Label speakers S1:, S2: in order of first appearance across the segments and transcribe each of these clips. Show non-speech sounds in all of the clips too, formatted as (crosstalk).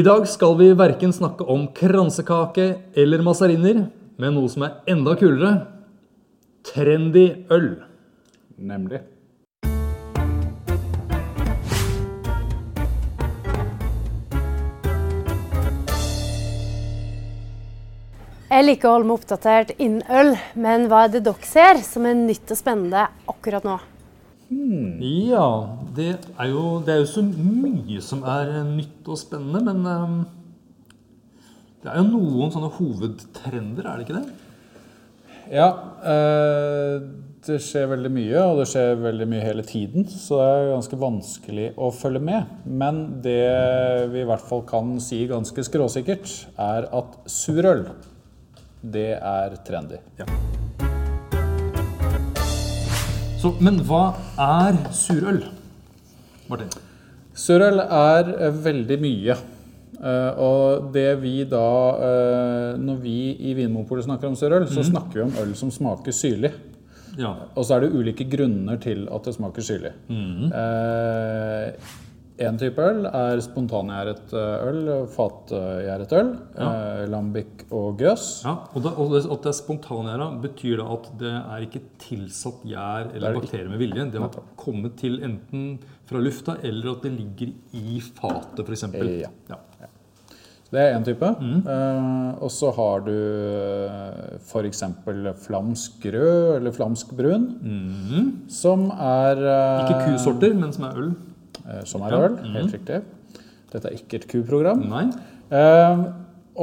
S1: I dag skal vi verken snakke om kransekake eller mazariner, men noe som er enda kulere. Trendy øl.
S2: Nemlig.
S3: Jeg liker å holde meg oppdatert innen øl, men hva er det dere ser som er nytt og spennende akkurat nå?
S1: Ja, det er, jo, det er jo så mye som er eh, nytt og spennende, men eh, det er jo noen sånne hovedtrender, er det ikke det?
S2: Ja, eh, det skjer veldig mye, og det skjer veldig mye hele tiden, så det er ganske vanskelig å følge med. Men det vi i hvert fall kan si ganske skråsikkert, er at surøl, det er trendy.
S1: Så, men hva er surøl? Martin.
S2: Surøl er eh, veldig mye. Eh, og det vi da eh, Når vi i Vinmonopolet snakker om surøl, så snakker vi om øl som smaker syrlig.
S1: Ja.
S2: Og så er det ulike grunner til at det smaker syrlig.
S1: Mhm.
S2: Én type øl er spontangjæret eh, øl, fatgjæret øl. eh, lambic og gøs.
S1: ja og, da, og det, at det er spontangjæra, betyr det at det er ikke tilsatt gjær
S2: Det er
S1: eller
S2: det
S1: bakterier med vilje? Det har kommet til enten fra lufta, eller at det ligger i fatet, f.eks.
S2: Ja. Det er én type.
S1: Mhm.
S2: Eh, og så har du f.eks. flamsk rød eller flamsk brun, som er eh,
S1: Mm. Ikke kusorter, Mhm. men som er øl.
S2: eh, som er øl. Helt riktig. Dette er ikke et kuprogram.
S1: Nei.
S2: Eh,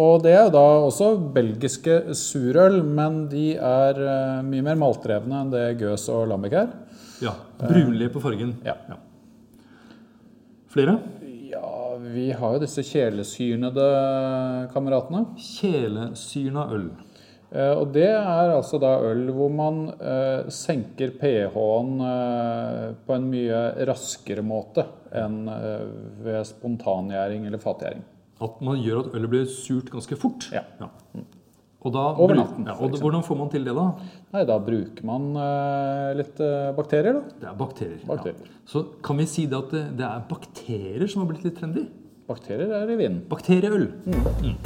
S2: og det er jo da også belgiske surøl, men de er eh, mye mer maltdrevne enn det Gøs og Lambic er.
S1: Ja. Brunlige på fargen.
S2: Ja.
S1: Flere?
S2: ja, vi har jo disse kjelesyrnede kameratene.
S1: Kjelesyrna øl.
S2: Eh, og det er altså da øl hvor man eh, senker pH-en eh, på en mye raskere måte enn eh, ved spontangjæring eller fatgjæring.
S1: At man gjør at ølet blir surt ganske fort.
S2: Ja.
S1: Og da,
S2: Over
S1: bru-
S2: natten,
S1: Ja,
S2: for
S1: og da-
S2: eksempel.
S1: hvordan får man til det, da?
S2: Nei, da bruker man eh, litt eh, bakterier, da.
S1: Det er bakterier.
S2: Bakterier.
S1: Ja. Så kan vi si det at det, det er bakterier som har blitt litt trendy?
S2: Bakterier er i vinen.
S1: Bakterieøl. Mm.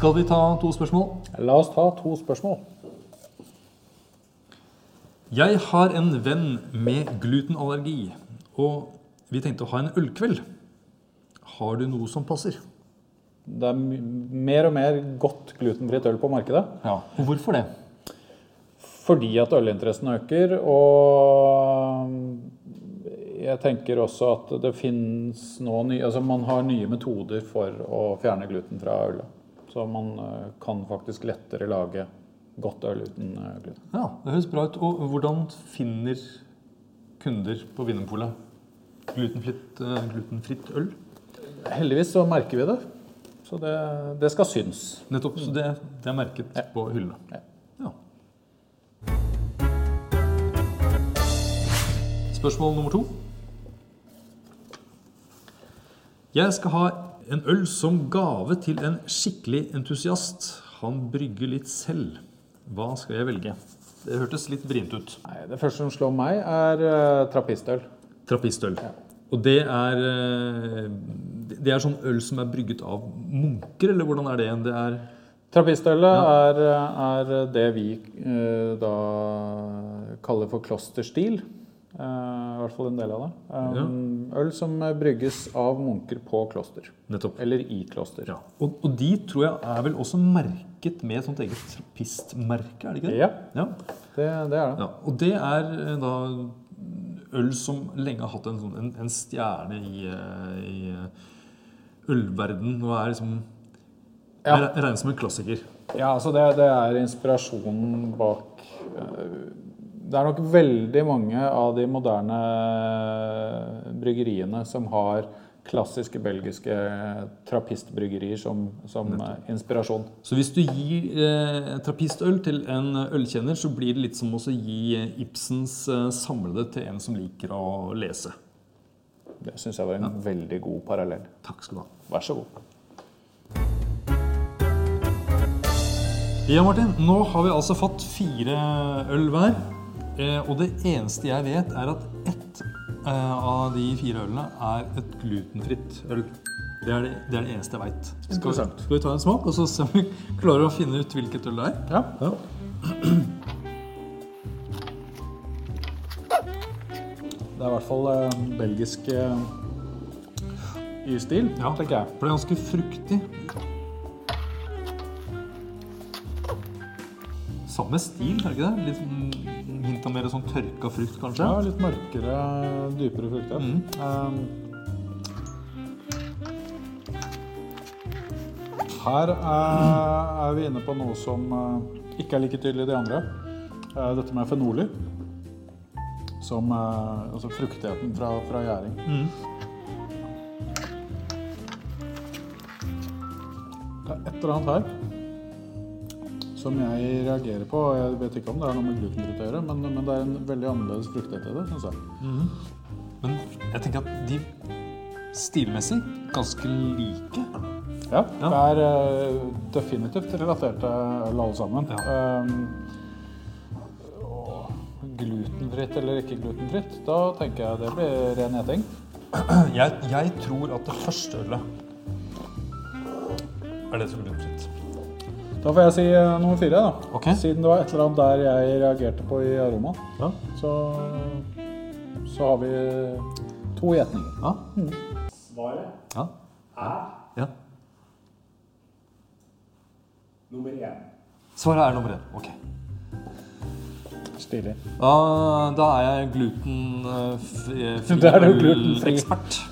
S1: Skal vi ta to spørsmål?
S2: La oss ta to spørsmål.
S1: Jeg har en venn med glutenallergi, og vi tenkte å ha en ølkveld. Har du noe som passer?
S2: Det er my- mer og mer godt glutenfritt øl på markedet.
S1: Ja. Og hvorfor det?
S2: Fordi at ølinteressen øker, og jeg tenker også at det finnes nå nye Altså man har nye metoder for å fjerne gluten fra ølet. Så man eh, kan faktisk lettere lage godt øl uten eh, gluten.
S1: Ja, Det høres bra ut. Og hvordan finner kunder på Vinmonopolet glutenfritt, eh, glutenfritt øl?
S2: Heldigvis så merker vi det. Så det, det skal synes.
S1: Nettopp, så det, det er merket på hyllene.
S2: Ja.
S1: Ja. Spørsmål nummer to. Jeg skal ha en øl som gave til en skikkelig entusiast. Han brygger litt selv. Hva skal jeg velge? Det hørtes litt vrient ut.
S2: Nei, det første som slår meg, er eh, trappistøl.
S1: Trappistøl. Og det er eh, Det er sånn øl som er brygget av munker, eller hvordan er det? Det er
S2: Trappistølet er, er det vi eh, da kaller for klosterstil. Eh, I hvert fall en del av det. Um, Øl som brygges av munker på kloster.
S1: nettopp
S2: Eller i kloster.
S1: Ja, og, og de tror jeg er vel også merket med et sånt eget trappistmerke, er det ikke det?
S2: Ja,
S1: Ja.
S2: det, det er det.
S1: ja. Og det er eh, da øl som lenge har hatt en, sånn, en, en stjerne i, eh, i eh, ølverden og er liksom
S2: Ja.
S1: er- er regnet som en klassiker.
S2: Ja, altså det, det er inspirasjonen bak eh, Det er nok veldig mange av de moderne bryggeriene som har klassiske belgiske trappistbryggerier som, som eh, inspirasjon.
S1: Så hvis du gir eh, trappistøl til en eh, ølkjenner, så blir det litt som også å gi eh, Ibsens eh, samlede til en som liker å lese.
S2: Det syns jeg var en veldig god parallell.
S1: Takk skal du ha.
S2: Vær så god.
S1: Ja, Martin. Nå har vi altså fått fire øl hver. Eh, og det eneste jeg vet, er at ett eh, av de fire ølene er et glutenfritt øl. Det er det, det, er det eneste jeg veit. Skal,
S2: Interessant.
S1: skal vi ta en smak, og så se om vi klarer å finne ut hvilket øl det er?
S2: Ja. Det er i hvert fall eh, belgisk eh, i stil,
S1: Ja.
S2: tenker jeg.
S1: For det er ganske fruktig. Samme stil, er det ikke det? Litt mm, hint av mer sånn tørka frukt, kanskje?
S2: Ja, litt mørkere, dypere Um, fruktighet. Eh, her er, er vi inne på noe som eh, ikke er like tydelig i de andre. Eh, dette med fenoler. Som eh, Altså fruktigheten fra, fra gjæring. Det er et eller annet her som jeg reagerer på. og Jeg vet ikke om det er noe med glutenfritt å gjøre, men, men det er en veldig annerledes fruktighet i det, syns jeg.
S1: Men jeg tenker at de stilmessig ganske like.
S2: Ja, det er eh, definitivt relatert til øl alle sammen. Ehm,
S1: Ja.
S2: Eh, og glutenfritt eller ikke glutenfritt, da tenker jeg det blir ren gjeting.
S1: Jeg, jeg tror at det første ølet er det som blir fritt.
S2: Da får jeg si eh, nummer fire, da.
S1: Ok.
S2: Siden det var et eller annet der jeg reagerte på i aromaen,
S1: Ja.
S2: så, så har vi to gjetninger.
S1: Ja.
S4: Svaret
S1: ja.
S4: er
S1: ja.
S4: nummer én.
S1: Svaret er nummer én. Ok.
S2: Stilig.
S1: Ja, da er jeg glutenfri
S2: (laughs) Da er du glutenfri.
S1: ekspert.